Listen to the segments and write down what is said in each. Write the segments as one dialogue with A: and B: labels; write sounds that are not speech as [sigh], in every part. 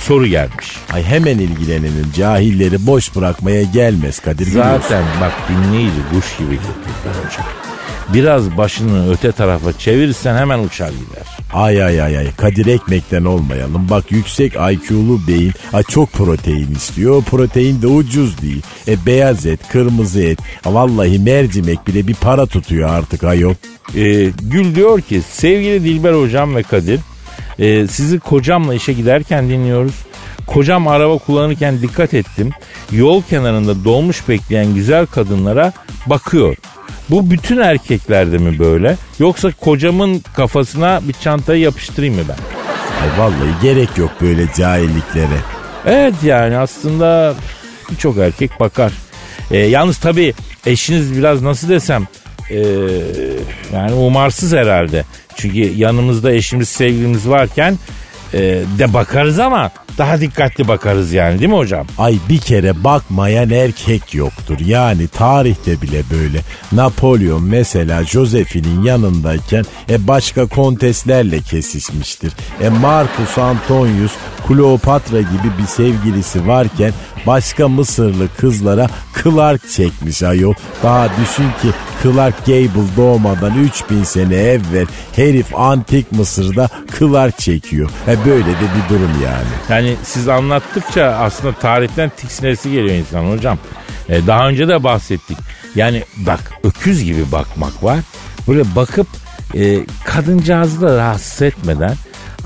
A: soru gelmiş.
B: Ay hemen ilgilenelim. Cahilleri boş bırakmaya gelmez Kadir. biliyorsun.
A: Zaten bak dinleyici kuş gibi Dilber hocam. Biraz başını öte tarafa çevirirsen hemen uçar gider.
B: Ay ay ay ay. Kadir ekmekten olmayalım. Bak yüksek IQ'lu beyin ay çok protein istiyor. Protein de ucuz değil. E beyaz et, kırmızı et. Ha, Vallahi mercimek bile bir para tutuyor artık ayol.
A: Ee, Gül diyor ki sevgili Dilber hocam ve Kadir e, sizi kocamla işe giderken dinliyoruz. Kocam araba kullanırken dikkat ettim. Yol kenarında dolmuş bekleyen güzel kadınlara bakıyor. Bu bütün erkeklerde mi böyle? Yoksa kocamın kafasına bir çantayı yapıştırayım mı ben?
B: Ay vallahi gerek yok böyle cahilliklere.
A: Evet yani aslında birçok erkek bakar. Ee, yalnız tabii eşiniz biraz nasıl desem ee, yani umarsız herhalde. Çünkü yanımızda eşimiz sevgilimiz varken ee, de bakarız ama daha dikkatli bakarız yani değil mi hocam?
B: Ay bir kere bakmayan erkek yoktur. Yani tarihte bile böyle. Napolyon mesela Josephine'in yanındayken e başka konteslerle kesişmiştir. E Marcus Antonius Kleopatra gibi bir sevgilisi varken başka Mısırlı kızlara Clark çekmiş ayol. Daha düşün ki Clark Gable doğmadan 3000 sene evvel herif antik Mısır'da Clark çekiyor. E böyle de bir durum yani.
A: Yani siz anlattıkça aslında tarihten tiksinesi geliyor insan hocam. Ee, daha önce de bahsettik. Yani bak öküz gibi bakmak var. Böyle bakıp e, kadıncağızı da rahatsız etmeden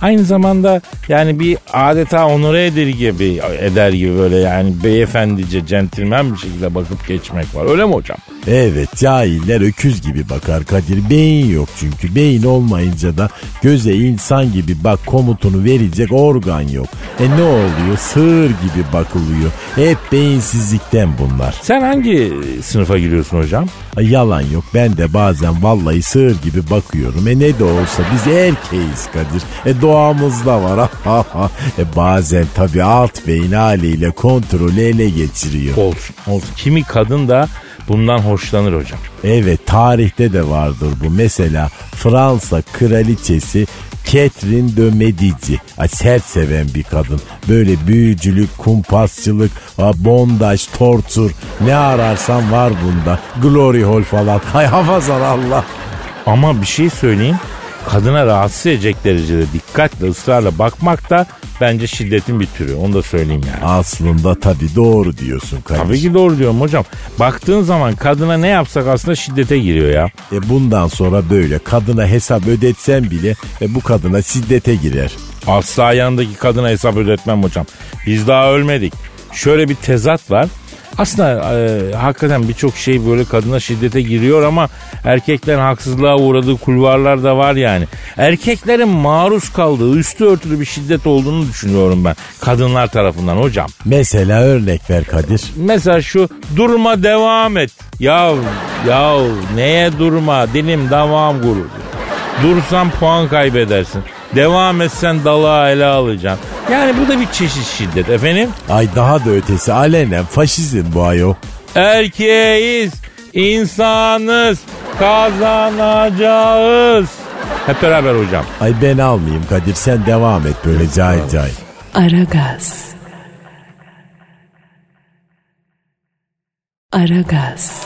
A: aynı zamanda yani bir adeta onore eder gibi eder gibi böyle yani beyefendice centilmen bir şekilde bakıp geçmek var. Öyle mi hocam?
B: Evet cahiller öküz gibi bakar Kadir. Beyin yok çünkü. Beyin olmayınca da göze insan gibi bak komutunu verecek organ yok. E ne oluyor? Sığır gibi bakılıyor. Hep beyinsizlikten bunlar.
A: Sen hangi sınıfa giriyorsun hocam?
B: Ay, yalan yok. Ben de bazen vallahi sığır gibi bakıyorum. E ne de olsa biz erkeğiz Kadir. E doğamızda var. [laughs] e bazen tabii alt beyin haliyle kontrolü ele geçiriyor.
A: Olsun olsun. Kimi kadın da bundan hoşlanır hocam.
B: Evet tarihte de vardır bu. Mesela Fransa kraliçesi Catherine de Medici. Ay, sert seven bir kadın. Böyle büyücülük, kumpasçılık, a, bondaj, tortur. Ne ararsan var bunda. Glory hole falan. Hay hafazan Allah.
A: Ama bir şey söyleyeyim. Kadına rahatsız edecek derecede dikkatle ısrarla bakmak da bence şiddetin bir türü. Onu da söyleyeyim yani.
B: Aslında tabii doğru diyorsun kardeşim.
A: Tabii ki doğru diyorum hocam. Baktığın zaman kadına ne yapsak aslında şiddete giriyor ya.
B: E bundan sonra böyle kadına hesap ödetsen bile e, bu kadına şiddete girer.
A: Asla yanındaki kadına hesap ödetmem hocam. Biz daha ölmedik. Şöyle bir tezat var. Aslında e, hakikaten birçok şey böyle kadına şiddete giriyor ama erkeklerin haksızlığa uğradığı kulvarlar da var yani. Erkeklerin maruz kaldığı üstü örtülü bir şiddet olduğunu düşünüyorum ben kadınlar tarafından hocam.
B: Mesela örnek ver Kadir.
A: Mesela şu durma devam et. Yav yav neye durma dilim davam gurur. Dursan puan kaybedersin. Devam etsen dalağı ele alacaksın. Yani bu da bir çeşit şiddet efendim.
B: Ay daha da ötesi alenen faşizm bu ayol.
A: Erkeğiz, insanız, kazanacağız. Hep beraber hocam.
B: Ay ben almayayım Kadir sen devam et böyle cahil cahil.
C: Aragaz. Aragaz.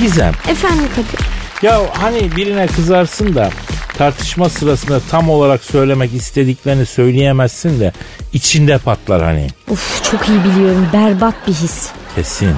A: Gizem
D: Efendim Kadir.
A: Ya hani birine kızarsın da tartışma sırasında tam olarak söylemek istediklerini söyleyemezsin de içinde patlar hani.
D: Of çok iyi biliyorum berbat bir his.
A: Kesin.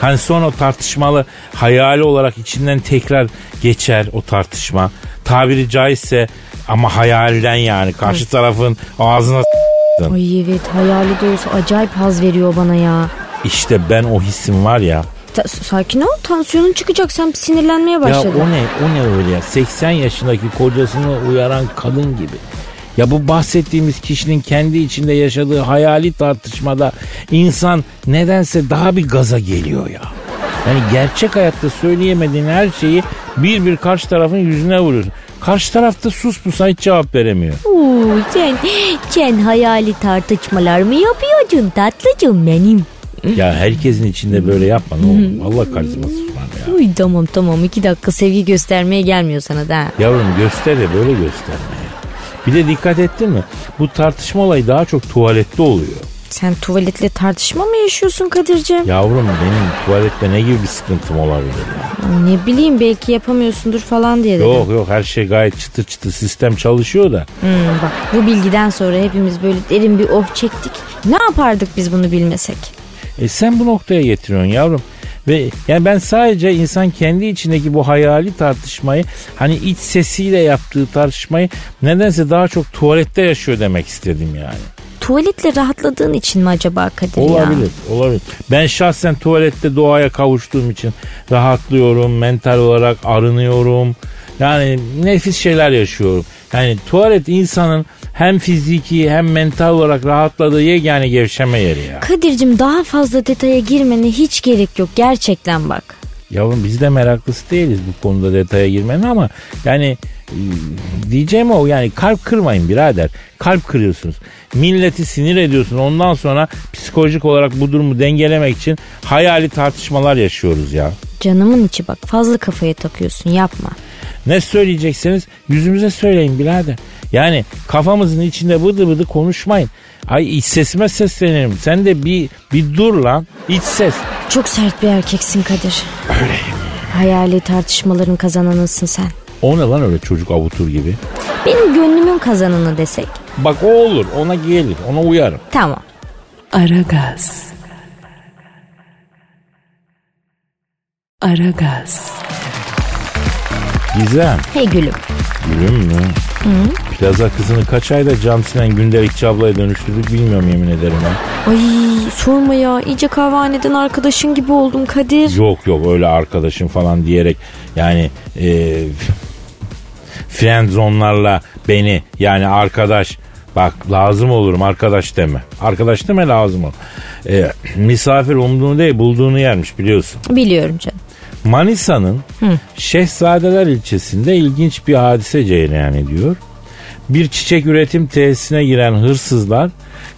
A: Hani son o tartışmalı hayali olarak içinden tekrar geçer o tartışma. Tabiri caizse ama hayalden yani karşı tarafın ağzına s**tın.
D: Ay evet hayali de olsa acayip haz veriyor bana ya.
A: İşte ben o hissim var ya.
D: Ta- sakin ol tansiyonun çıkacak sen sinirlenmeye başladın.
A: Ya o ne o ne öyle ya 80 yaşındaki kocasını uyaran kadın gibi. Ya bu bahsettiğimiz kişinin kendi içinde yaşadığı hayali tartışmada insan nedense daha bir gaza geliyor ya. Yani gerçek hayatta söyleyemediğin her şeyi bir bir karşı tarafın yüzüne vuruyorsun. Karşı tarafta sus pusan hiç cevap veremiyor.
D: Oo, sen, sen hayali tartışmalar mı yapıyordun tatlıcığım benim?
A: ya herkesin içinde böyle yapma ne olur. Allah karizmasız var ya.
D: Uy tamam tamam iki dakika sevgi göstermeye gelmiyor sana da.
A: Yavrum göster de böyle gösterme ya. Bir de dikkat ettin mi? Bu tartışma olayı daha çok tuvalette oluyor.
D: Sen tuvaletle tartışma mı yaşıyorsun Kadir'ciğim?
A: Yavrum benim tuvalette ne gibi bir sıkıntım olabilir ya?
D: Ay, Ne bileyim belki yapamıyorsundur falan diye dedim.
A: Yok yok her şey gayet çıtır çıtır sistem çalışıyor da.
D: Hmm, bak bu bilgiden sonra hepimiz böyle derin bir oh çektik. Ne yapardık biz bunu bilmesek?
A: E sen bu noktaya getiriyorsun yavrum. Ve yani ben sadece insan kendi içindeki bu hayali tartışmayı hani iç sesiyle yaptığı tartışmayı nedense daha çok tuvalette yaşıyor demek istedim yani.
D: Tuvaletle rahatladığın için mi acaba Kadir ya?
A: Olabilir, olabilir. Ben şahsen tuvalette doğaya kavuştuğum için rahatlıyorum, mental olarak arınıyorum. Yani nefis şeyler yaşıyorum. Yani tuvalet insanın hem fiziki hem mental olarak rahatladığı yegane gevşeme yeri ya.
D: Kadir'cim daha fazla detaya girmene hiç gerek yok gerçekten bak.
A: Yavrum biz de meraklısı değiliz bu konuda detaya girmenin ama yani e, diyeceğim o yani kalp kırmayın birader. Kalp kırıyorsunuz. Milleti sinir ediyorsun. Ondan sonra psikolojik olarak bu durumu dengelemek için hayali tartışmalar yaşıyoruz ya.
D: Canımın içi bak fazla kafaya takıyorsun yapma.
A: Ne söyleyecekseniz yüzümüze söyleyin birader. Yani kafamızın içinde bıdı bıdı konuşmayın. Ay iç sesime seslenirim. Sen de bir bir dur lan. İç ses.
D: Çok sert bir erkeksin Kadir. Hayali tartışmaların kazananısın sen.
A: O ne lan öyle çocuk avutur gibi.
D: Benim gönlümün kazananı desek.
A: Bak o olur. Ona gelir. Ona uyarım.
D: Tamam.
C: Aragaz. Aragaz.
A: Gizem.
D: Hey gülüm.
A: Gülüm mü? Plaza kızını kaç ayda Cam Sinan Gündelikçi ablaya dönüştürdük bilmiyorum yemin ederim ha.
D: Ay sorma ya iyice kahvehaneden arkadaşın gibi oldum Kadir.
A: Yok yok öyle arkadaşım falan diyerek yani e, friend zonlarla beni yani arkadaş bak lazım olurum arkadaş deme. Arkadaş deme lazım ol. E, misafir umduğunu değil bulduğunu yermiş biliyorsun.
D: Biliyorum canım.
A: Manisa'nın Şehzadeler ilçesinde ilginç bir hadise cereyan ediyor. Bir çiçek üretim tesisine giren hırsızlar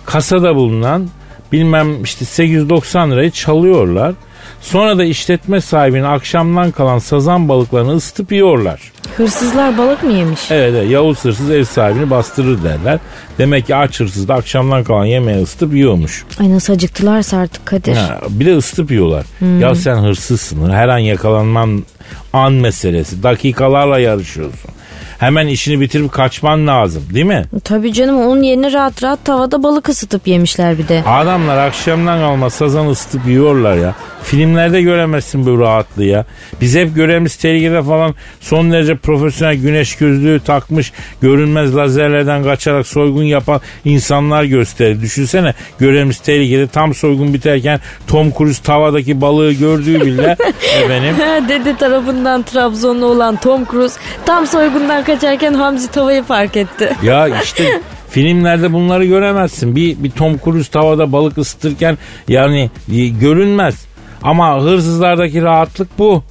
A: kasada bulunan bilmem işte 890 lirayı çalıyorlar. Sonra da işletme sahibinin akşamdan kalan sazan balıklarını ısıtıp yiyorlar.
D: Hırsızlar balık mı yemiş?
A: Evet, evet Yavuz hırsız ev sahibini bastırır derler. Demek ki aç hırsız da akşamdan kalan yemeği ısıtıp yiyormuş.
D: Ay nasıl acıktılarsa artık Kadir.
A: Ha, bir de ısıtıp yiyorlar. Ya sen hırsızsın. Her an yakalanman an meselesi. Dakikalarla yarışıyorsun. Hemen işini bitirip kaçman lazım değil mi?
D: Tabii canım onun yerine rahat rahat tavada balık ısıtıp yemişler bir de.
A: Adamlar akşamdan kalma sazan ısıtıp yiyorlar ya. Filmlerde göremezsin bu rahatlığı ya. Biz hep görevimiz tehlikede falan son derece profesyonel güneş gözlüğü takmış görünmez lazerlerden kaçarak soygun yapan insanlar gösterir. Düşünsene görevimiz tehlikede tam soygun biterken Tom Cruise tavadaki balığı gördüğü bile efendim
D: [laughs] Dede tarafından Trabzonlu olan Tom Cruise tam soygundan kaçarken Hamzi tavayı fark etti.
A: Ya işte filmlerde bunları göremezsin. Bir, bir Tom Cruise tavada balık ısıtırken yani e, görünmez. Ama hırsızlardaki rahatlık bu.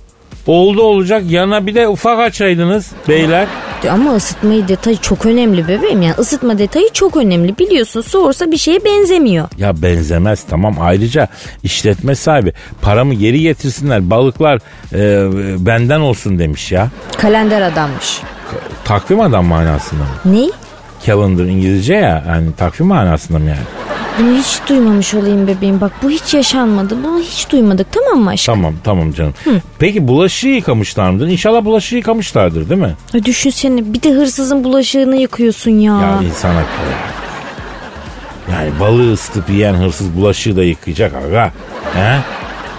A: Oldu olacak yanına bir de ufak açaydınız beyler.
D: Ama ısıtmayı detayı çok önemli bebeğim yani ısıtma detayı çok önemli biliyorsun soğursa bir şeye benzemiyor.
A: Ya benzemez tamam ayrıca işletme sahibi paramı geri getirsinler balıklar e, benden olsun demiş ya.
D: Kalender adammış.
A: Takvim adam manasında mı?
D: Ne?
A: Calendar İngilizce ya yani takvim manasında mı yani?
D: Bunu hiç duymamış olayım bebeğim. Bak bu hiç yaşanmadı. Bunu hiç duymadık tamam mı aşkım?
A: Tamam tamam canım. Peki bulaşığı yıkamışlar mıdır? İnşallah bulaşığı yıkamışlardır değil mi?
D: Ay, düşünsene bir de hırsızın bulaşığını yıkıyorsun ya.
A: Ya insan haklı ya. Yani balığı ısıtıp yiyen hırsız bulaşığı da yıkayacak aga. He?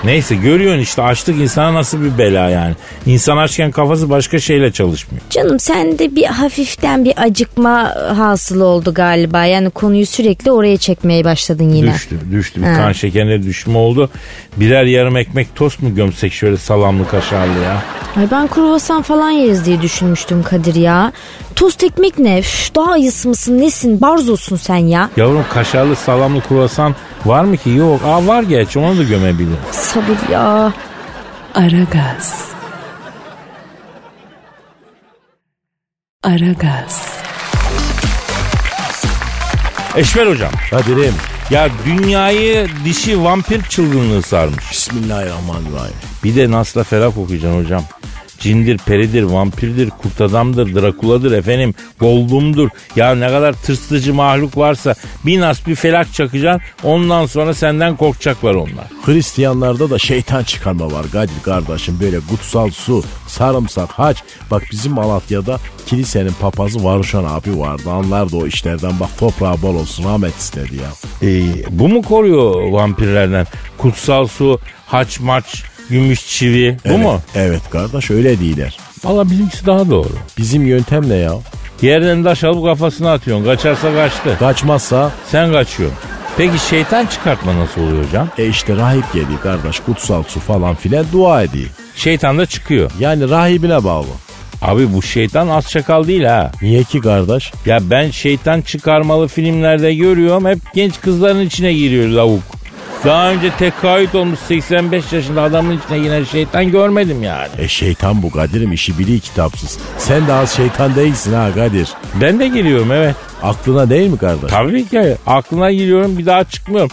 A: Neyse görüyorsun işte açlık insana nasıl bir bela yani. İnsan açken kafası başka şeyle çalışmıyor.
D: Canım sende bir hafiften bir acıkma hasıl oldu galiba. Yani konuyu sürekli oraya çekmeye başladın yine.
A: Düştü düştü bir
D: Ha.
A: kan şekerine düşme oldu. Birer yarım ekmek tost mu gömsek şöyle salamlı kaşarlı ya.
D: Ay ben kruvasan falan yeriz diye düşünmüştüm Kadir ya. Tost ekmek ne? Üf, daha ayısı mısın nesin? Barzosun sen ya.
A: Yavrum kaşarlı salamlı kruvasan var mı ki? Yok. Aa var gerçi onu da gömebilirim.
D: Sabır ya.
C: Aragaz. Aragaz.
A: Eşmer hocam.
B: Kadir'im.
A: Ya dünyayı dişi vampir çılgınlığı sarmış.
B: Bismillahirrahmanirrahim.
A: Bir de Nas'la Ferah okuyacaksın hocam. Cindir, peridir, vampirdir, kurt adamdır, drakuladır efendim, goldumdur. Ya ne kadar tırsıcı mahluk varsa bir nas bir felak çakacaksın. Ondan sonra senden korkacaklar onlar.
B: Hristiyanlarda da şeytan çıkarma var Kadir kardeşim. Böyle kutsal su, sarımsak, haç. Bak bizim Malatya'da kilisenin papazı Varuşan abi vardı. Anlardı o işlerden. Bak toprağı bol olsun rahmet istedi ya.
A: Ee, bu mu koruyor vampirlerden? Kutsal su, haç maç, gümüş çivi. Bu
B: Evet,
A: mu?
B: Evet kardeş öyle değiller.
A: Valla bizimkisi daha doğru.
B: Bizim yöntem ne ya?
A: Yerden taş alıp kafasına atıyorsun. Kaçarsa kaçtı.
B: Kaçmazsa
A: Sen kaçıyorsun. Peki şeytan çıkartma nasıl oluyor hocam?
B: e işte rahip geliyor kardeş kutsal su falan filan dua ediyor.
A: Şeytan da çıkıyor.
B: Yani rahibine bağlı.
A: Abi bu şeytan az çakal değil ha.
B: Niye ki kardeş?
A: Ya ben şeytan çıkarmalı filmlerde görüyorum. Hep genç kızların içine giriyor lavuk. Daha önce tekahüt olmuş 85 yaşında adamın içine giren şeytan görmedim yani.
B: E şeytan bu Kadir'im işi biliyor kitapsız. Sen de az şeytan değilsin ha Kadir.
A: Ben de giriyorum evet.
B: Aklına değil mi kardeş?
A: Tabii ki aklına giriyorum bir daha çıkmıyorum.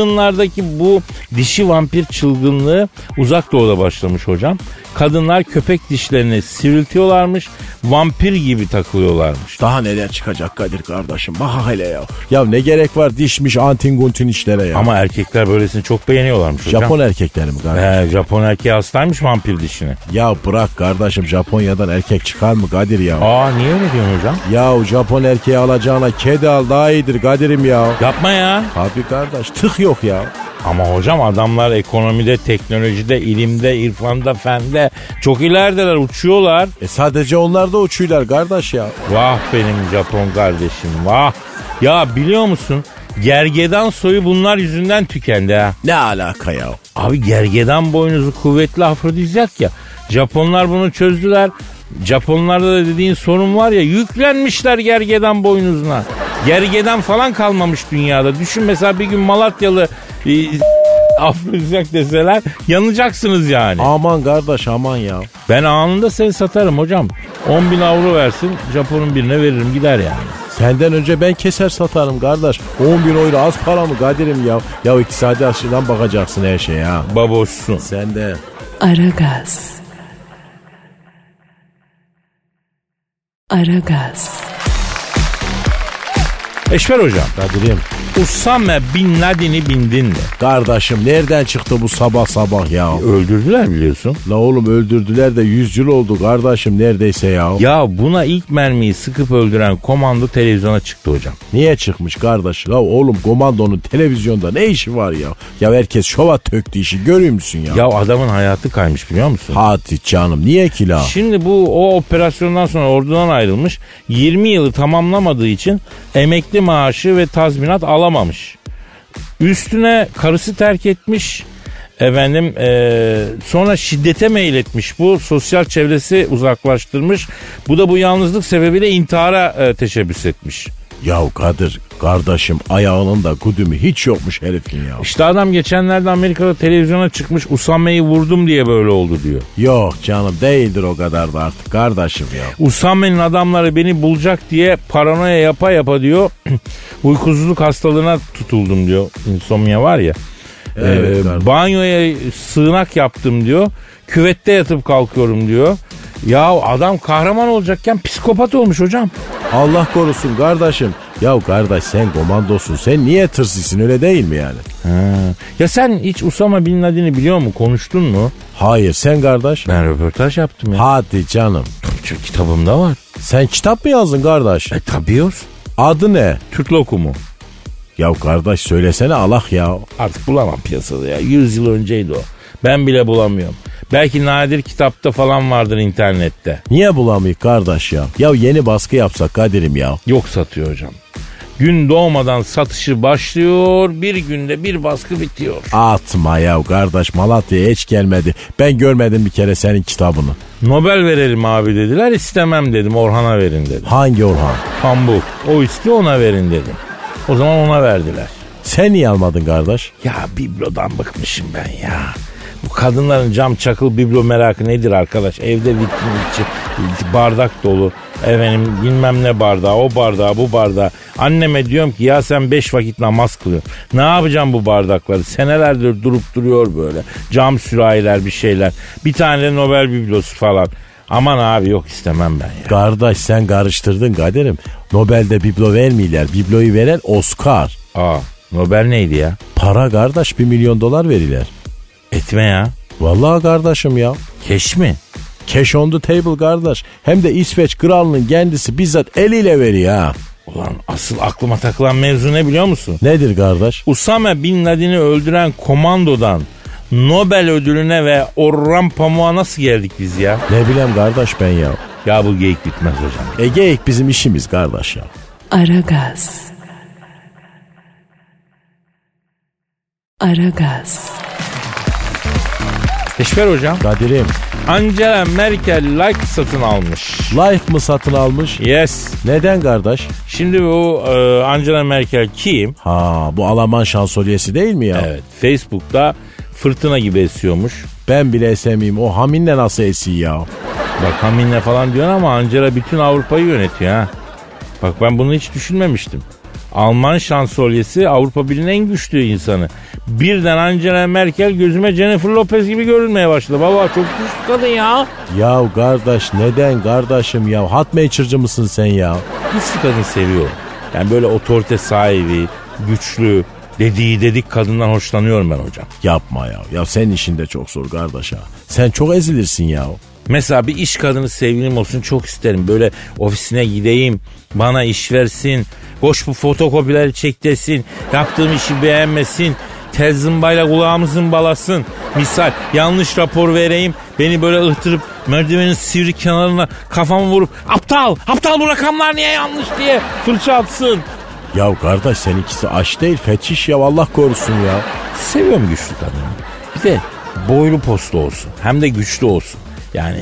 A: Kadınlardaki bu dişi vampir çılgınlığı uzak doğuda başlamış hocam. Kadınlar köpek dişlerini sivriltiyorlarmış. Vampir gibi takılıyorlarmış.
B: Daha neler çıkacak Kadir kardeşim? Bak hele ya. Ya ne gerek var dişmiş antin guntin işlere ya.
A: Ama erkekler böylesini çok beğeniyorlarmış hocam.
B: Japon erkekleri mi kardeş?
A: He, Japon erkeği hastaymış vampir dişini.
B: Ya bırak kardeşim Japonya'dan erkek çıkar mı Kadir ya?
A: Aa niye öyle diyorsun hocam?
B: Ya Japon erkeği alacağına kedi al daha iyidir Kadir'im ya.
A: Yapma ya.
B: Abi kardeş tık yok ya.
A: Ama hocam adamlar ekonomide, teknolojide, ilimde, irfanda, fende çok ilerideler uçuyorlar.
B: E sadece onlar da uçuyorlar kardeş ya.
A: Vah benim Japon kardeşim vah. Ya biliyor musun gergedan soyu bunlar yüzünden tükendi ha.
B: Ne alaka ya?
A: Abi gergedan boynuzu kuvvetli afrodizyak ya. Japonlar bunu çözdüler. Japonlarda da dediğin sorun var ya yüklenmişler gergedan boynuzuna. Gergedan falan kalmamış dünyada. Düşün mesela bir gün Malatyalı e, [laughs] afrodizyak deseler yanacaksınız yani.
B: Aman kardeş aman ya.
A: Ben anında seni satarım hocam. 10 bin avro versin Japon'un birine veririm gider yani.
B: Senden önce ben keser satarım kardeş. 10 bin euro az para mı Kadir'im ya? Ya iktisadi açıdan bakacaksın her şeye ha.
A: Baboşsun.
B: Sen de.
C: Aragaz. Aragaz.
A: Eşver hocam.
B: Kadir'im.
A: Usame Bin Laden'i bindin de.
B: Kardeşim nereden çıktı bu sabah sabah ya?
A: Öldürdüler biliyorsun.
B: La oğlum öldürdüler de 100 yıl oldu kardeşim neredeyse ya.
A: Ya buna ilk mermiyi sıkıp öldüren komando televizyona çıktı hocam.
B: Niye çıkmış kardeş? La oğlum komandonun televizyonda ne işi var ya? Ya herkes şova töktü işi görüyor musun ya?
A: Ya adamın hayatı kaymış biliyor musun?
B: Hadi canım niye ki la?
A: Şimdi bu o operasyondan sonra ordudan ayrılmış. 20 yılı tamamlamadığı için emekli maaşı ve tazminat alamamış. Üstüne karısı terk etmiş. Efendim eee, sonra şiddete meyletmiş bu sosyal çevresi uzaklaştırmış. Bu da bu yalnızlık sebebiyle intihara eee, teşebbüs etmiş.
B: Ya Kadir kardeşim ayağının da kudümü hiç yokmuş herifin ya.
A: İşte adam geçenlerde Amerika'da televizyona çıkmış Usame'yi vurdum diye böyle oldu diyor.
B: Yok canım değildir o kadar da artık kardeşim ya.
A: Usame'nin adamları beni bulacak diye paranoya yapa yapa diyor. [clears throat] Uykusuzluk hastalığına tutuldum diyor. İnsomnia var ya.
B: Evet,
A: Ee,
B: kardeşim.
A: banyoya sığınak yaptım diyor. Küvette yatıp kalkıyorum diyor. Ya adam kahraman olacakken psikopat olmuş hocam.
B: Allah korusun kardeşim. Ya kardeş sen komandosun sen niye tırsısın öyle değil mi yani?
A: Ha. Ya sen hiç Usama Bin Laden'i biliyor mu? Konuştun mu?
B: Hayır sen kardeş.
A: Ben röportaj yaptım ya.
B: Hadi canım.
A: Türkçe kitabımda var.
B: Sen kitap mı yazdın kardeş?
A: E tabii yaz.
B: Adı ne?
A: Türk lokumu.
B: Ya kardeş söylesene Allah ya.
A: Artık bulamam piyasada ya. 100 yıl önceydi o. Ben bile bulamıyorum. Belki nadir kitapta falan vardır internette.
B: Niye bulamıyoruz kardeş ya? Ya yeni baskı yapsak Kadir'im ya.
A: Yok satıyor hocam. Gün doğmadan satışı başlıyor. Bir günde bir baskı bitiyor.
B: Atma ya kardeş Malatya'ya hiç gelmedi. Ben görmedim bir kere senin kitabını.
A: Nobel verelim abi dediler. İstemem dedim. Orhan'a verin dedim.
B: Hangi Orhan?
A: Pambuk. O istiyor ona verin dedim. O zaman ona verdiler.
B: Sen niye almadın kardeş?
A: Ya biblodan bıkmışım ben ya. Bu kadınların cam çakıl biblo merakı nedir arkadaş? Evde vitrin içi bardak dolu. Efendim bilmem ne bardağı o bardağı bu bardağı. Anneme diyorum ki ya sen beş vakit namaz kılıyorsun. Ne yapacağım bu bardakları? Senelerdir durup duruyor böyle. Cam sürahiler bir şeyler. Bir tane de Nobel biblosu falan. Aman abi yok istemem ben ya.
B: Kardeş sen karıştırdın Kadir'im. Nobel'de biblo vermiyorlar. Bibloyu veren Oscar.
A: Aa Nobel neydi ya?
B: Para kardeş bir milyon dolar verirler.
A: Etme ya.
B: Vallahi kardeşim ya.
A: Keş mi?
B: Cash on the table kardeş. Hem de İsveç kralının kendisi bizzat eliyle veriyor ha.
A: Ulan asıl aklıma takılan mevzu ne biliyor musun?
B: Nedir kardeş?
A: Usame Bin Laden'i öldüren komandodan Nobel ödülüne ve Orhan Pamuk'a nasıl geldik biz ya?
B: Ne bileyim kardeş ben ya.
A: Ya bu geyik bitmez hocam.
B: Ege'yik bizim işimiz kardeş ya.
C: Aragaz. Aragaz.
A: Teşekkür hocam.
B: Kadir'im
A: Angela Merkel like satın almış.
B: like mı satın almış?
A: Yes.
B: Neden kardeş?
A: Şimdi bu e, Angela Merkel kim?
B: Ha bu Alman şansölyesi değil mi ya?
A: Evet. Facebook'ta fırtına gibi esiyormuş.
B: Ben bile esemeyim. O haminle nasıl esiyor ya?
A: Bak Hamin'le falan diyorsun ama Angela bütün Avrupa'yı yönetiyor ha. Bak ben bunu hiç düşünmemiştim. Alman şansölyesi Avrupa Birliği'nin en güçlü insanı. Birden Angela Merkel gözüme Jennifer Lopez gibi görünmeye başladı. Baba çok güçlü kadın ya.
B: Ya kardeş neden kardeşim ya? Hat maker'cı mısın sen ya?
A: Güçlü kadın seviyorum. Yani böyle otorite sahibi, güçlü, dediği dedik kadından hoşlanıyorum ben hocam.
B: Yapma ya. Ya senin işin de çok zor kardeş ha. Sen çok ezilirsin ya.
A: Mesela bir iş kadını sevgilim olsun çok isterim. Böyle ofisine gideyim, bana iş versin, boş bu fotokopileri çek desin, yaptığım işi beğenmesin, tez zımbayla kulağımı zımbalasın. Misal yanlış rapor vereyim, beni böyle ıhtırıp merdivenin sivri kenarına kafamı vurup aptal, aptal bu rakamlar niye yanlış diye fırça atsın.
B: Ya kardeş seninkisi aç değil fetiş ya Allah korusun ya.
A: Seviyorum güçlü kadını. Bir de boylu poslu olsun. Hem de güçlü olsun. Yani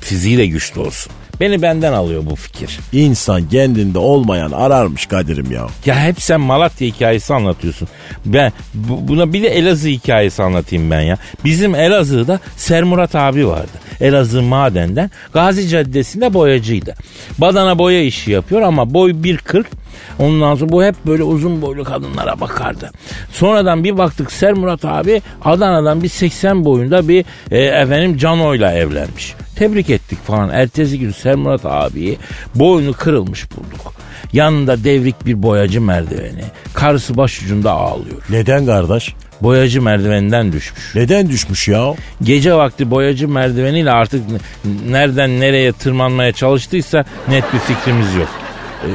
A: fiziği de güçlü olsun. Beni benden alıyor bu fikir.
B: İnsan kendinde olmayan ararmış Kadir'im ya.
A: Ya hep sen Malatya hikayesi anlatıyorsun. Ben bu- buna bir de Elazığ hikayesi anlatayım ben ya. Bizim Elazığ'da Sermurat abi vardı. Elazığ madenden Gazi Caddesi'nde boyacıydı. Badana boya işi yapıyor ama boy 1.40. Ondan sonra bu hep böyle uzun boylu kadınlara bakardı. Sonradan bir baktık Sermurat abi Adana'dan bir 80 boyunda bir e, efendim Cano'yla evlenmiş. Tebrik ettik falan. Ertesi gün Sermurat abiyi boynu kırılmış bulduk. Yanında devrik bir boyacı merdiveni. Karısı başucunda ağlıyor.
B: Neden kardeş?
A: Boyacı merdivenden düşmüş.
B: Neden düşmüş ya?
A: Gece vakti boyacı merdiveniyle artık n- nereden nereye tırmanmaya çalıştıysa net bir fikrimiz yok. Ee,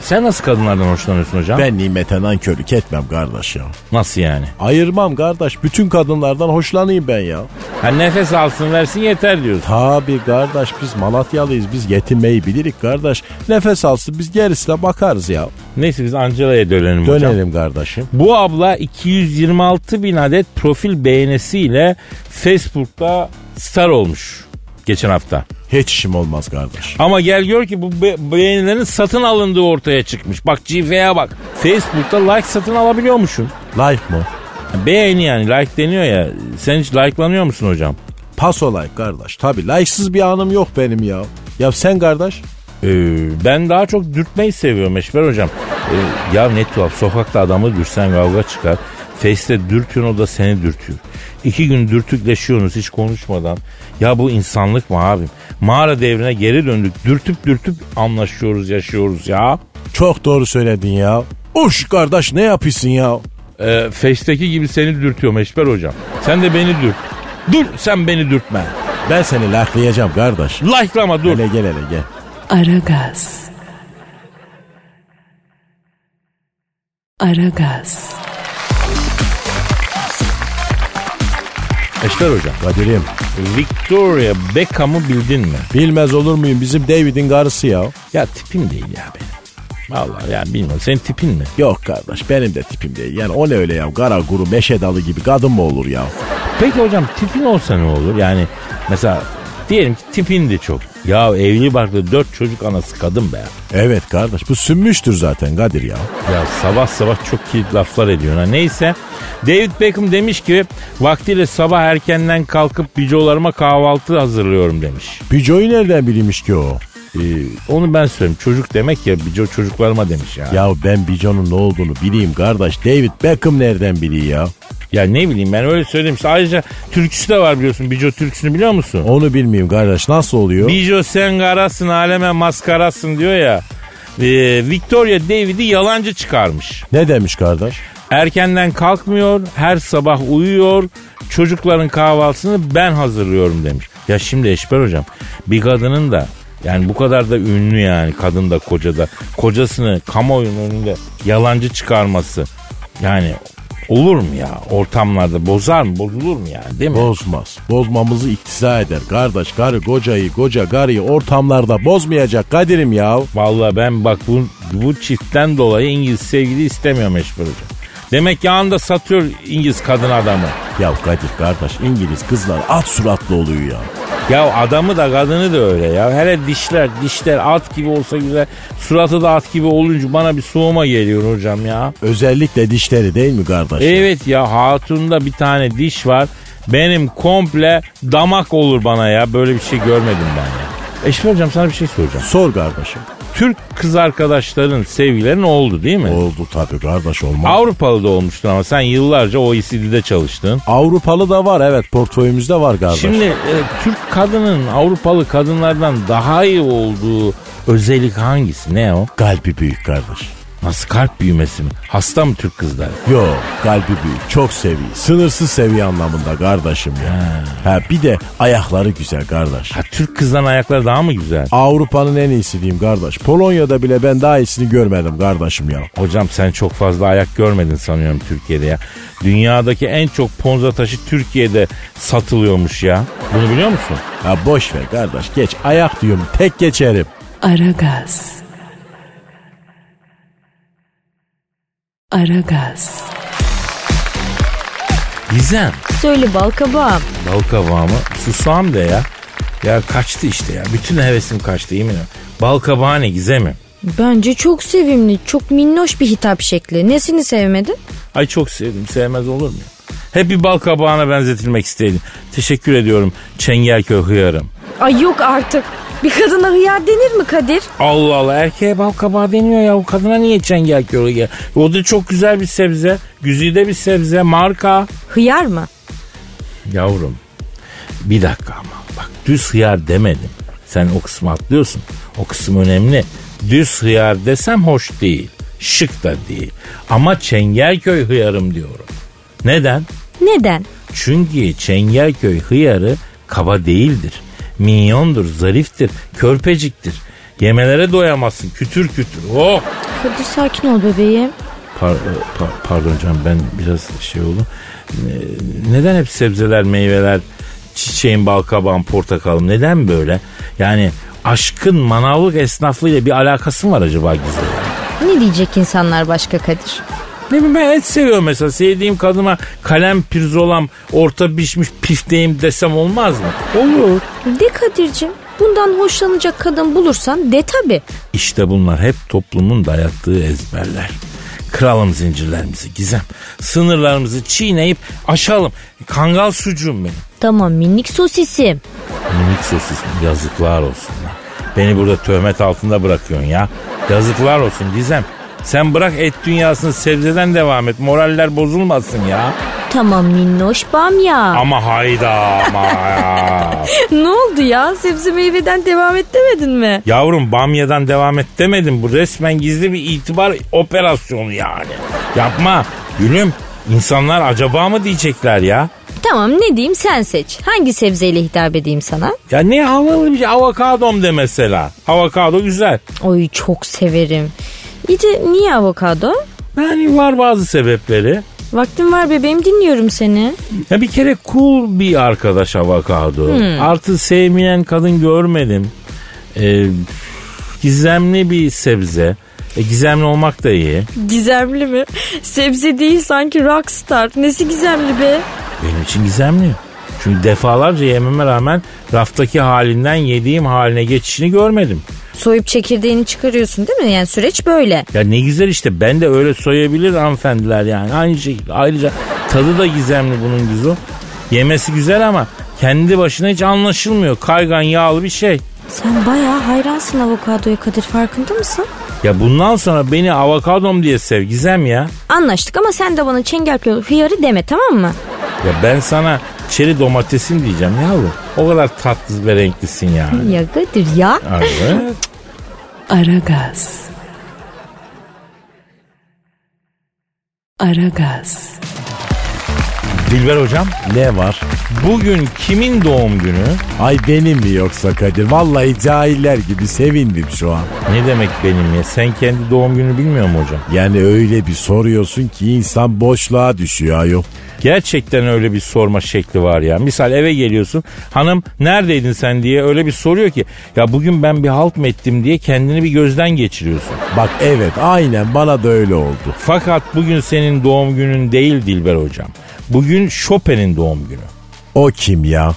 A: sen nasıl kadınlardan hoşlanıyorsun hocam?
B: Ben nimete nankörlük etmem kardeş ya.
A: Nasıl yani?
B: Ayırmam kardeş. Bütün kadınlardan hoşlanayım ben ya.
A: Ha, nefes alsın versin yeter diyorsun.
B: Tabi kardeş biz Malatyalıyız. Biz yetinmeyi bilirik kardeş. Nefes alsın biz gerisine bakarız ya.
A: Neyse biz Angela'ya dönelim, hocam.
B: Dönelim kardeşim.
A: Bu abla 226 bin adet profil beğenisiyle Facebook'ta star olmuş geçen hafta.
B: Hiç işim olmaz kardeş.
A: Ama gel gör ki bu be- beğenilerin satın alındığı ortaya çıkmış. Bak cilveye bak. Facebook'ta like satın alabiliyormuşsun.
B: Like mı?
A: Beğeni yani like deniyor ya. Sen hiç like'lanıyor musun hocam?
B: Paso like kardeş. Tabi like'sız bir anım yok benim ya. Ya sen kardeş?
A: Ee, ben daha çok dürtmeyi seviyorum Eşber hocam. Ee, ya ne tuhaf sokakta adamı dürsen kavga çıkar. Face'te dürtüyorsun o da seni dürtüyor. İki gün dürtükleşiyorsunuz hiç konuşmadan. Ya bu insanlık mı abim? Mağara devrine geri döndük. Dürtüp dürtüp anlaşıyoruz yaşıyoruz ya.
B: Çok doğru söyledin ya. Uş kardeş ne yapıyorsun ya?
A: Ee, Feşteki gibi seni dürtüyor Meşber hocam. Sen de beni dürt. Dur sen beni dürtme.
B: Ben seni laklayacağım kardeş.
A: Like'lama dur.
B: Hele gel hele gel.
E: Aragaz. Aragaz.
A: Meşber hocam.
B: Kadir'im
A: Victoria Beckham'ı bildin mi?
B: bilmez olur muyum bizim David'in karısı ya?
A: Ya tipim değil ya benim. Vallahi yani bilmiyorum. Senin tipin mi?
B: Yok kardeş benim de tipim değil. Yani o ne öyle ya kara guru meşe dalı gibi kadın mı olur ya?
A: Peki hocam tipin olsa ne olur? Yani mesela diyelim ki tipin de çok. Ya evli barklı dört çocuk anası kadın be.
B: Evet kardeş bu sünmüştür zaten Kadir ya.
A: Ya sabah sabah çok kilit laflar ediyor. Ha. Neyse David Beckham demiş ki vaktiyle sabah erkenden kalkıp bicolarıma kahvaltı hazırlıyorum demiş.
B: Pico'yu nereden bilmiş ki o?
A: Ee, onu ben söyleyeyim. Çocuk demek ya bico çocuklarıma demiş ya. ya.
B: Ya ben Bicon'un ne olduğunu bileyim kardeş. David Beckham nereden biliyor ya?
A: ne bileyim ben öyle söyleyeyim. İşte ayrıca türküsü de var biliyorsun. Bico türküsünü biliyor musun?
B: Onu bilmeyeyim kardeş. Nasıl oluyor?
A: Bijo sen garasın aleme maskarasın diyor ya. Ee, Victoria David'i yalancı çıkarmış.
B: Ne demiş kardeş?
A: Erkenden kalkmıyor, her sabah uyuyor, çocukların kahvaltısını ben hazırlıyorum demiş. Ya şimdi Eşber hocam bir kadının da yani bu kadar da ünlü yani kadın da koca da kocasını kamuoyunun önünde yalancı çıkarması yani olur mu ya ortamlarda bozar mı bozulur mu yani değil mi?
B: Bozmaz. Bozmamızı iktiza eder. Kardeş karı kocayı koca karıyı ortamlarda bozmayacak Kadir'im ya.
A: Vallahi ben bak bu, bu çiftten dolayı İngiliz sevgili istemiyorum Eşber hocam. Demek ki anında satıyor İngiliz kadın adamı.
B: Ya Kadir kardeş İngiliz kızlar at suratlı oluyor ya.
A: Ya adamı da kadını da öyle ya. Hele dişler dişler at gibi olsa güzel. Suratı da at gibi olunca bana bir soğuma geliyor hocam ya.
B: Özellikle dişleri değil mi kardeş?
A: Evet ya hatunda bir tane diş var. Benim komple damak olur bana ya. Böyle bir şey görmedim ben ya. Eşme hocam sana bir şey soracağım.
B: Sor kardeşim.
A: Türk kız arkadaşların sevgilerin oldu değil mi?
B: Oldu tabii kardeş olmaz.
A: Avrupalı da olmuştun ama sen yıllarca OECD'de çalıştın.
B: Avrupalı da var evet portföyümüzde var kardeş.
A: Şimdi e, Türk kadının Avrupalı kadınlardan daha iyi olduğu özellik hangisi? Ne o?
B: Kalbi büyük kardeş.
A: Nasıl kalp büyümesi mi? Hasta mı Türk kızları?
B: Yo kalbi büyük çok seviye sınırsız seviye anlamında kardeşim ya. Ha bir de ayakları güzel kardeş.
A: Ha Türk kızların ayakları daha mı güzel?
B: Avrupa'nın en iyisi diyeyim kardeş. Polonya'da bile ben daha iyisini görmedim kardeşim ya.
A: Hocam sen çok fazla ayak görmedin sanıyorum Türkiye'de ya. Dünyadaki en çok ponza taşı Türkiye'de satılıyormuş ya. Bunu biliyor musun?
B: Ha boş ver kardeş geç ayak diyorum tek geçerim.
E: Aragaz. Aragaz.
A: Gizem.
D: Söyle bal kabağı.
A: Bal kabağımı susam de ya. Ya kaçtı işte ya. Bütün hevesim kaçtı yemin ederim. Bal kabağı ne gizemim.
D: Bence çok sevimli, çok minnoş bir hitap şekli. Nesini sevmedin?
A: Ay çok sevdim. Sevmez olur mu? Hep bir bal kabağına benzetilmek isteydim. Teşekkür ediyorum Çengelköy hıyarım.
D: Ay yok artık. Bir kadına hıyar denir mi Kadir?
A: Allah Allah erkeğe bal kabağı deniyor ya. O kadına niye Çengelköy hıyar? O da çok güzel bir sebze. Güzide bir sebze. Marka.
D: Hıyar mı?
A: Yavrum bir dakika ama bak düz hıyar demedim. Sen o kısmı atlıyorsun. O kısım önemli. Düz hıyar desem hoş değil. Şık da değil. Ama Çengelköy hıyarım diyorum. Neden?
D: Neden?
A: Çünkü Çengelköy hıyarı kaba değildir. Minyondur, zariftir, körpeciktir. Yemelere doyamazsın kütür kütür. Oh!
D: Kadir sakin ol bebeğim.
A: Par- pa- pardon canım ben biraz şey oldu. Ee, Neden hep sebzeler, meyveler, çiçeğin, balkabağın, portakalım neden böyle? Yani aşkın manavlık esnaflığıyla bir alakası mı var acaba Gizli?
D: Ne diyecek insanlar başka Kadir?
A: Ne bileyim ben et seviyorum mesela. Sevdiğim kadına kalem pirzolam orta pişmiş pifteğim desem olmaz mı? Olur.
D: De Kadir'cim bundan hoşlanacak kadın bulursan de tabi.
A: İşte bunlar hep toplumun dayattığı ezberler. Kıralım zincirlerimizi gizem. Sınırlarımızı çiğneyip aşalım. Kangal sucuğum benim.
D: Tamam minik sosisim.
A: Minik sosis mi? yazıklar olsun lan. Beni burada töhmet altında bırakıyorsun ya. Yazıklar olsun Gizem. Sen bırak et dünyasını sebzeden devam et. Moraller bozulmasın ya.
D: Tamam minnoş bam ya.
A: Ama hayda ama ya.
D: ne oldu ya? Sebze meyveden devam et demedin mi?
A: Yavrum bamyadan devam et demedim. Bu resmen gizli bir itibar operasyonu yani. Yapma. Gülüm insanlar acaba mı diyecekler ya?
D: Tamam ne diyeyim sen seç. Hangi sebzeyle hitap edeyim sana?
A: Ya ne havalı bir şey. Avokadom de mesela. Avokado güzel.
D: Oy çok severim. İyi de niye avokado?
A: Yani var bazı sebepleri.
D: Vaktim var bebeğim dinliyorum seni.
A: Ya bir kere cool bir arkadaş avokado. Artı sevmeyen kadın görmedim. Ee, gizemli bir sebze. E, gizemli olmak da iyi.
D: Gizemli mi? Sebze değil sanki rockstar. Nesi gizemli be?
A: Benim için gizemli. Çünkü defalarca yememe rağmen raftaki halinden yediğim haline geçişini görmedim.
D: Soyup çekirdeğini çıkarıyorsun değil mi? Yani süreç böyle.
A: Ya ne güzel işte ben de öyle soyabilir hanımefendiler yani. Aynı şekilde ayrıca tadı da gizemli bunun güzel. Yemesi güzel ama kendi başına hiç anlaşılmıyor. Kaygan yağlı bir şey.
D: Sen bayağı hayransın avokadoya Kadir farkında mısın?
A: Ya bundan sonra beni avokadom diye sev Gizem ya.
D: Anlaştık ama sen de bana çengelköy hıyarı deme tamam mı?
A: Ya ben sana çeri domatesim diyeceğim yavrum. O kadar tatlı ve renklisin yani.
D: Ya Kadir ya.
A: Evet.
E: Aragaz. Aragaz.
A: Dilber hocam
B: Ne var?
A: bugün kimin doğum günü?
B: Ay benim mi yoksa Kadir? Vallahi cahiller gibi sevindim şu an.
A: Ne demek benim ya? Sen kendi doğum günü bilmiyor musun hocam?
B: Yani öyle bir soruyorsun ki insan boşluğa düşüyor ayol.
A: Gerçekten öyle bir sorma şekli var ya. Misal eve geliyorsun. Hanım neredeydin sen diye öyle bir soruyor ki. Ya bugün ben bir halt mı ettim diye kendini bir gözden geçiriyorsun.
B: Bak evet aynen bana da öyle oldu.
A: Fakat bugün senin doğum günün değil Dilber hocam. Bugün Chopin'in doğum günü.
B: O kim ya?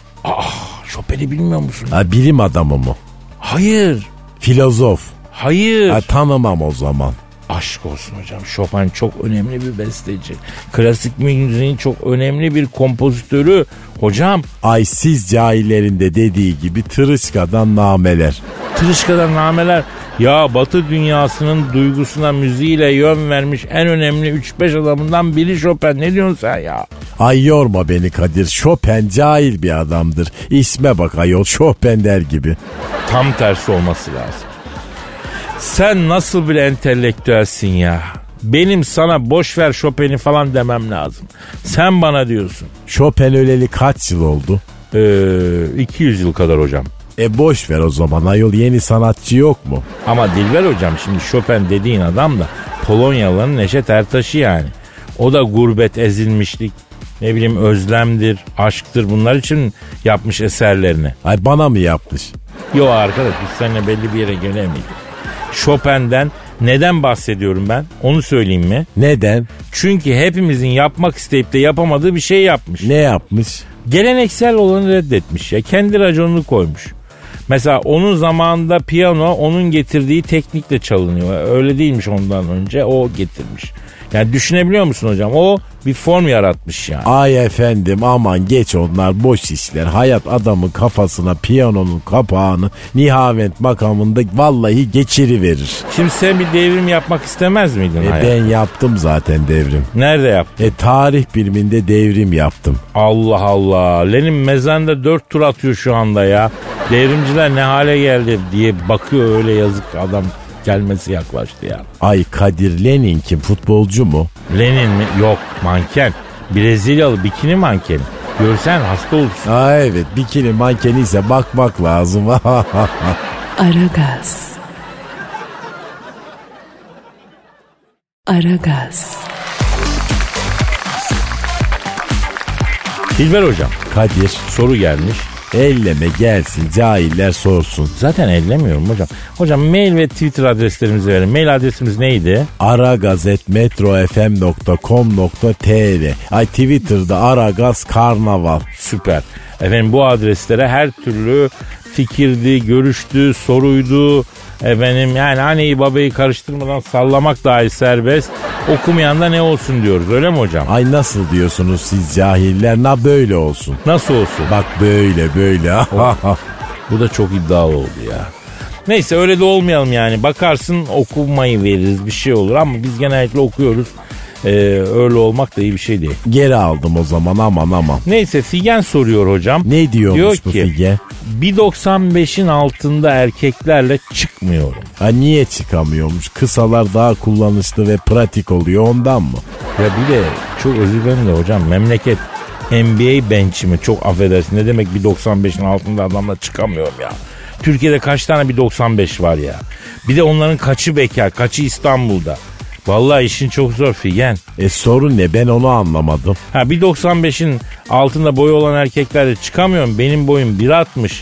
A: Chopin'i bilmiyor musun?
B: Ha, bilim adamı mı?
A: Hayır.
B: Filozof.
A: Hayır.
B: Ha, tanımam o zaman.
A: Aşk olsun hocam. Chopin çok önemli bir besteci. Klasik müziğin çok önemli bir kompozitörü. Hocam
B: Ay siz cahillerin de dediği gibi tırışkadan nameler.
A: Tırışka'dan nameler ya batı dünyasının duygusuna müziğiyle yön vermiş en önemli 3-5 adamından biri Chopin. Ne diyorsun sen ya?
B: Ay yorma beni Kadir. Chopin cahil bir adamdır. İsme bak ayol Chopin der gibi.
A: Tam tersi olması lazım. Sen nasıl bir entelektüelsin ya? Benim sana boş ver Chopin'i falan demem lazım. Sen bana diyorsun.
B: Chopin öleli kaç yıl oldu?
A: Ee, 200 yıl kadar hocam.
B: E boş ver o zaman ayol yeni sanatçı yok mu?
A: Ama Dilber hocam şimdi Chopin dediğin adam da Polonyalı'nın Neşet Ertaş'ı yani. O da gurbet, ezilmişlik, ne bileyim özlemdir, aşktır bunlar için yapmış eserlerini.
B: Ay bana mı yapmış?
A: Yo arkadaş biz seninle belli bir yere gelemeyiz. Chopin'den neden bahsediyorum ben? Onu söyleyeyim mi?
B: Neden?
A: Çünkü hepimizin yapmak isteyip de yapamadığı bir şey yapmış.
B: Ne yapmış?
A: Geleneksel olanı reddetmiş ya. Kendi raconunu koymuş. Mesela onun zamanında piyano onun getirdiği teknikle çalınıyor. Öyle değilmiş ondan önce. O getirmiş. Yani düşünebiliyor musun hocam? O bir form yaratmış yani.
B: Ay efendim aman geç onlar boş işler. Hayat adamın kafasına piyanonun kapağını nihavent makamında vallahi geçiriverir.
A: Şimdi sen bir devrim yapmak istemez miydin?
B: E
A: hayatım?
B: ben yaptım zaten devrim.
A: Nerede yaptın?
B: E tarih biliminde devrim yaptım.
A: Allah Allah. Lenin mezende dört tur atıyor şu anda ya. Devrimciler ne hale geldi diye bakıyor öyle yazık adam gelmesi yaklaştı ya.
B: Ay Kadir Lenin kim futbolcu mu?
A: Lenin mi? Yok manken. Brezilyalı bikini mankeni. Görsen hasta olursun.
B: Aa evet bikini mankeni ise bakmak lazım. [laughs]
E: Aragaz. Aragaz.
A: Dilber hocam
B: Kadir
A: soru gelmiş.
B: elleme gelsin cahiller sorsun.
A: Zaten ellemiyorum hocam. Hocam mail ve Twitter adreslerimizi verin. Mail adresimiz neydi?
B: aragazetmetrofm.com.tr Ay Twitter'da Aragaz Karnaval.
A: Süper. Efendim bu adreslere her türlü fikirdi, görüştü, soruydu. Efendim yani anneyi babayı karıştırmadan sallamak dahi serbest. Okumayan da ne olsun diyoruz öyle mi hocam?
B: Ay nasıl diyorsunuz siz cahiller? Na böyle olsun.
A: Nasıl olsun?
B: Bak böyle böyle. [laughs]
A: Bu da çok iddialı oldu ya. Neyse öyle de olmayalım yani. Bakarsın okumayı veririz bir şey olur ama biz genellikle okuyoruz. e, öyle olmak da iyi bir şey değil.
B: Geri aldım o zaman aman aman.
A: Neyse Figen soruyor hocam.
B: Ne diyormuş
A: Diyor
B: bu
A: ki,
B: Figen?
A: 1.95'in altında erkeklerle çıkmıyorum.
B: Ha niye çıkamıyormuş? Kısalar daha kullanışlı ve pratik oluyor ondan mı?
A: Ya bir de çok özür dilerim de hocam memleket NBA bench'i mi? Çok affedersin ne demek 1.95'in altında adamla çıkamıyorum ya. Türkiye'de kaç tane 1.95 var ya. Bir de onların kaçı bekar, kaçı İstanbul'da. Vallahi işin çok zor Figen.
B: E sorun ne ben onu anlamadım.
A: Ha 1.95'in altında boyu olan erkeklerle çıkamıyorum. Benim boyum 1.60.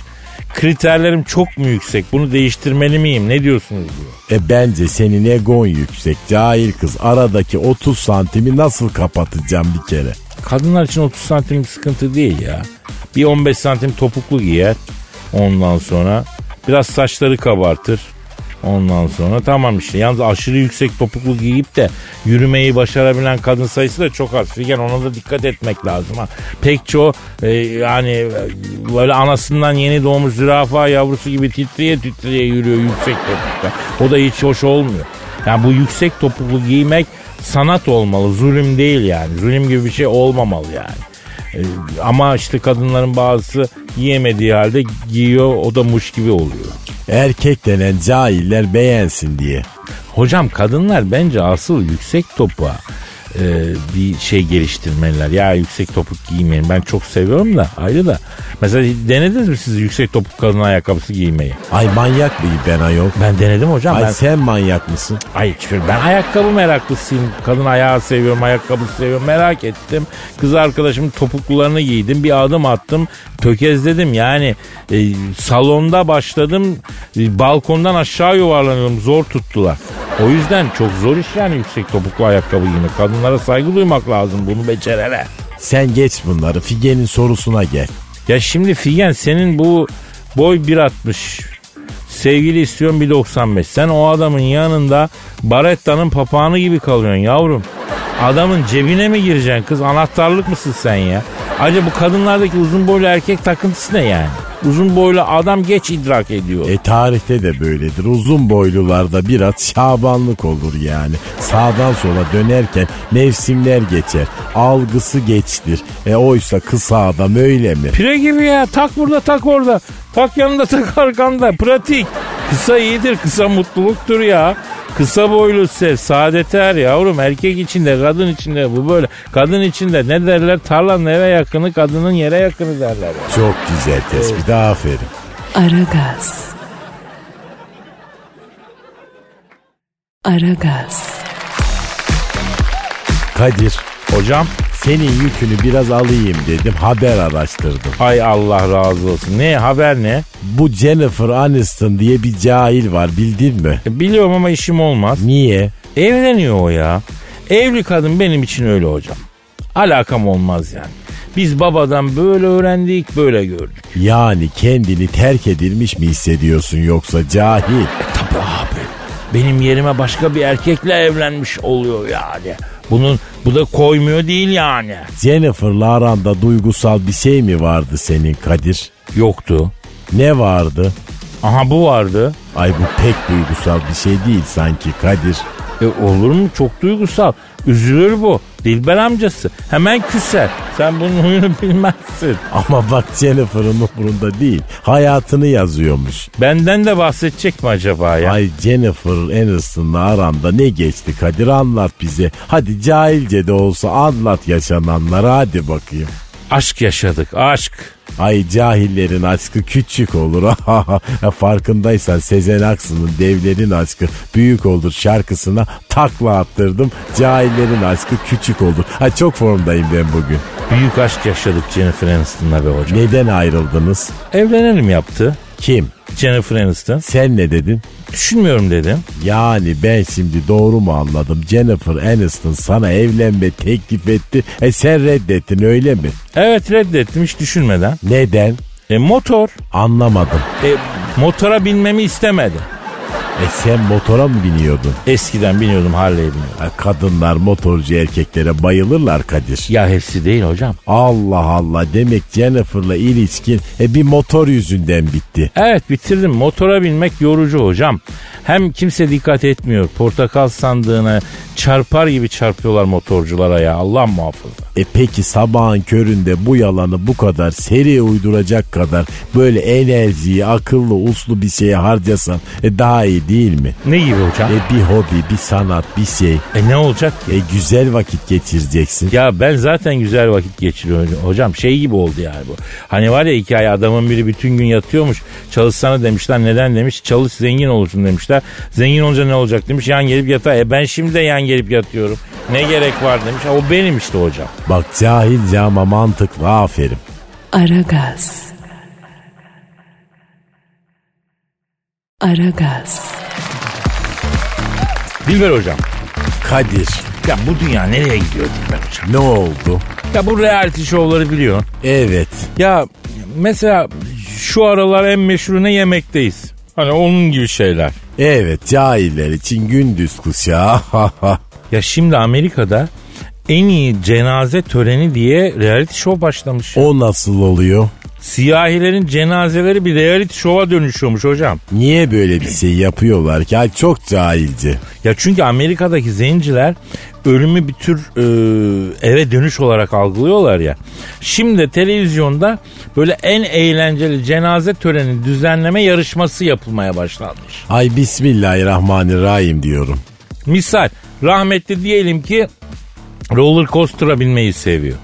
A: Kriterlerim çok mu yüksek? Bunu değiştirmeli miyim? Ne diyorsunuz diyor.
B: E bence senin egon yüksek cahil kız. Aradaki 30 santimi nasıl kapatacağım bir kere?
A: Kadınlar için 30 santimlik sıkıntı değil ya. Bir 15 santim topuklu giyer. Ondan sonra biraz saçları kabartır. Ondan sonra tamam işte. Yalnız aşırı yüksek topuklu giyip de yürümeyi başarabilen kadın sayısı da çok az. Figen ona da dikkat etmek lazım ha. Pek çoğu e, yani e, böyle anasından yeni doğmuş zürafa yavrusu gibi titreye titreye yürüyor yüksek topukla. O da hiç hoş olmuyor. Yani bu yüksek topuklu giymek sanat olmalı. Zulüm değil yani. Zulüm gibi bir şey olmamalı yani. E, ama işte kadınların bazısı giyemediği halde giyiyor o da muş gibi oluyor.
B: Erkek denen cahiller beğensin diye.
A: Hocam kadınlar bence asıl yüksek topuğa e, bir şey geliştirmeliler. Ya yüksek topuk giymeyin. Ben çok seviyorum da ayrı da. Mesela denediniz mi siz yüksek topuk kadın ayakkabısı giymeyi?
B: Ay manyak mıyım ben ayol?
A: Ben denedim hocam.
B: Ay
A: ben,
B: sen manyak mısın?
A: Ay hiçbir ben ayakkabı meraklısıyım. Kadın ayağı seviyorum, ayakkabı seviyorum. Merak ettim. Kız arkadaşımın topuklularını giydim. Bir adım attım. Tökezledim yani. e, salonda başladım. e, balkondan aşağı yuvarlanıyorum. Zor tuttular. O yüzden çok zor iş yani yüksek topuklu ayakkabı giymek. Kadınlara saygı duymak lazım bunu becerene.
B: Sen geç bunları Figen'in sorusuna gel.
A: Ya şimdi Figen senin bu boy 1.60 sevgili istiyorum 1.95 sen o adamın yanında Baretta'nın papağanı gibi kalıyorsun yavrum. Adamın cebine mi gireceksin kız anahtarlık mısın sen ya? Acaba bu kadınlardaki uzun boylu erkek takıntısı ne yani? Uzun boylu adam geç idrak ediyor.
B: E tarihte de böyledir. Uzun boylularda biraz şabanlık olur yani. Sağdan sola dönerken mevsimler geçer. Algısı geçtir. E oysa kısa adam öyle mi?
A: Pire gibi ya tak burada tak orada. Tak yanında tak arkanda pratik. Kısa iyidir kısa mutluluktur ya. Kısa boylu sev saadete er yavrum erkek içinde kadın içinde bu böyle. Kadın içinde ne derler tarlanın eve yakını kadının yere yakını derler. ya.
B: Çok güzel tespit aferin.
E: Aragaz. Aragaz.
B: Kadir
A: Hocam
B: senin yükünü biraz alayım dedim haber araştırdım.
A: ay Allah razı olsun ne haber ne?
B: Bu Jennifer Aniston diye bir cahil var bildin mi?
A: E, Biliyorum ama işim olmaz.
B: Niye?
A: Evleniyor o ya. Evli kadın benim için öyle hocam. Alakam olmaz yani. Biz babadan böyle öğrendik böyle gördük.
B: Yani kendini terk edilmiş mi hissediyorsun yoksa cahil?
A: Tabii abi. Benim yerime başka bir erkekle evlenmiş oluyor yani. Bunun bu da koymuyor değil yani.
B: Jennifer'la aranda duygusal bir şey mi vardı senin Kadir?
A: Yoktu.
B: Ne vardı?
A: Aha bu vardı.
B: Ay bu pek duygusal bir şey değil sanki Kadir. [laughs]
A: E olur mu? Çok duygusal. Üzülür bu. Dilber amcası. Hemen küser. Sen bunun huyunu [laughs] bilmezsin.
B: Ama bak Jennifer'ın umurunda değil. Hayatını yazıyormuş.
A: Benden de bahsedecek mi acaba ya?
B: Ay Jennifer Aniston'la aramda ne geçti Kadir anlat bize. Hadi cahilce de olsa anlat yaşananları hadi bakayım.
A: Aşk yaşadık. Aşk.
B: Ay cahillerin aşkı küçük olur. [laughs] Ya Farkındaysan Sezen Aksu'nun devlerin aşkı büyük olur şarkısına takla attırdım. Cahillerin aşkı küçük olur. Ha çok formdayım ben bugün.
A: Büyük aşk yaşadık Jennifer Aniston'la be hocam.
B: Neden ayrıldınız?
A: Evlenelim yaptı.
B: Kim?
A: Jennifer Aniston.
B: Sen ne dedin?
A: Düşünmüyorum dedim.
B: Yani ben şimdi doğru mu anladım? Jennifer Aniston sana evlenme teklif etti. E sen reddettin öyle mi?
A: Evet reddettim hiç düşünmeden.
B: Neden?
A: E motor.
B: Anlamadım.
A: E, motora binmemi istemedi.
B: E sen motora mı biniyordun?
A: Eskiden biniyordum Harley'e biniyordum.
B: Ha, kadınlar motorcu erkeklere bayılırlar Kadir.
A: Ya hepsi değil hocam.
B: Allah Allah demek Jennifer'la ilişkin e, bir motor yüzünden bitti.
A: Evet bitirdim. Motora binmek yorucu hocam. Hem kimse dikkat etmiyor. Portakal sandığına çarpar gibi çarpıyorlar motorculara ya. Allah muhafaza.
B: E peki sabahın köründe bu yalanı bu kadar seri uyduracak kadar böyle enerjiyi akıllı uslu bir şeye harcasan e, daha iyi değil mi?
A: Ne gibi hocam?
B: E bir hobi, bir sanat, bir şey.
A: E ne olacak ki?
B: E güzel vakit geçireceksin.
A: Ya ben zaten güzel vakit geçiriyorum hocam. Şey gibi oldu yani bu. Hani var ya hikaye adamın biri bütün gün yatıyormuş. Çalışsana demişler. Neden demiş. Çalış zengin olursun demişler. Zengin olunca ne olacak demiş. Yan gelip yata. E ben şimdi de yan gelip yatıyorum. Ne gerek var demiş. O benim işte hocam.
B: Bak cahilce ama mantıklı aferin.
E: Aragaz. Aragaz.
A: Dilber hocam.
B: Kadir
A: Ya bu dünya nereye gidiyor Dilber hocam?
B: ne oldu?
A: Ya bu reality şovları biliyor.
B: Evet
A: Ya mesela şu aralar en meşhur ne yemekteyiz. Hani onun gibi şeyler.
B: evet cahiller için gündüz kuşağı. [laughs]
A: Ya şimdi Amerika'da en iyi cenaze töreni diye reality show başlamış.
B: o nasıl oluyor?
A: Siyahilerin cenazeleri bir reality show'a dönüşüyormuş hocam.
B: Niye böyle bir şey yapıyorlar ki? Ay çok cahilce.
A: Ya çünkü Amerika'daki zenciler ölümü bir tür e, eve dönüş olarak algılıyorlar ya. Şimdi de televizyonda böyle en eğlenceli cenaze töreni düzenleme yarışması yapılmaya başlanmış.
B: Ay bismillahirrahmanirrahim diyorum.
A: Misal rahmetli diyelim ki roller coaster'a binmeyi seviyor.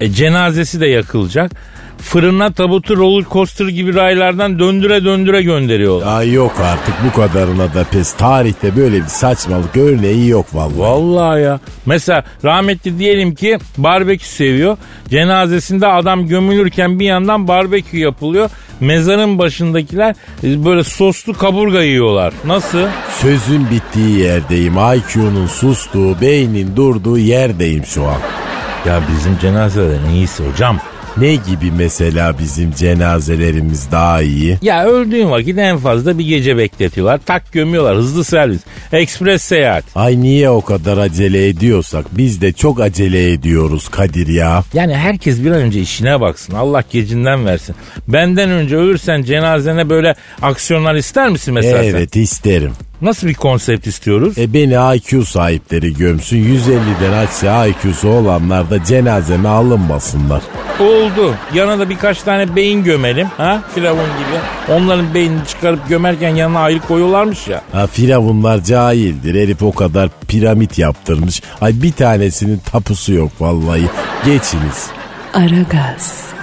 A: E, cenazesi de yakılacak. Fırına tabutu roller coaster gibi raylardan döndüre döndüre gönderiyorlar.
B: Ay yok artık bu kadarına da pes. Tarihte böyle bir saçmalık örneği yok vallahi.
A: Vallahi ya. Mesela rahmetli diyelim ki barbekü seviyor. Cenazesinde adam gömülürken bir yandan barbekü yapılıyor. Mezarın başındakiler e, böyle soslu kaburga yiyorlar. Nasıl?
B: Sözün bittiği yerdeyim. IQ'nun sustuğu, beynin durduğu yerdeyim şu an.
A: Ya bizim cenazede neyse hocam.
B: Ne gibi mesela bizim cenazelerimiz daha iyi?
A: Ya öldüğün vakit en fazla bir gece bekletiyorlar. Tak gömüyorlar. Hızlı servis. Ekspres seyahat.
B: Ay niye o kadar acele ediyorsak? Biz de çok acele ediyoruz Kadir ya.
A: Yani herkes bir an önce işine baksın. Allah gecinden versin. Benden önce ölürsen cenazene böyle aksiyonlar ister misin mesela sen?
B: evet isterim.
A: Nasıl bir konsept istiyoruz?
B: E beni IQ sahipleri gömsün. 150'den aşağı IQ'su olanlar da cenazeme alınmasınlar.
A: Oldu. Yana da birkaç tane beyin gömelim. Ha? Firavun gibi. Onların beynini çıkarıp gömerken yanına ayrı koyuyorlarmış ya.
B: Ha firavunlar cahildir. Herif o kadar piramit yaptırmış. Ay bir tanesinin tapusu yok vallahi. Geçiniz.
E: Aragaz.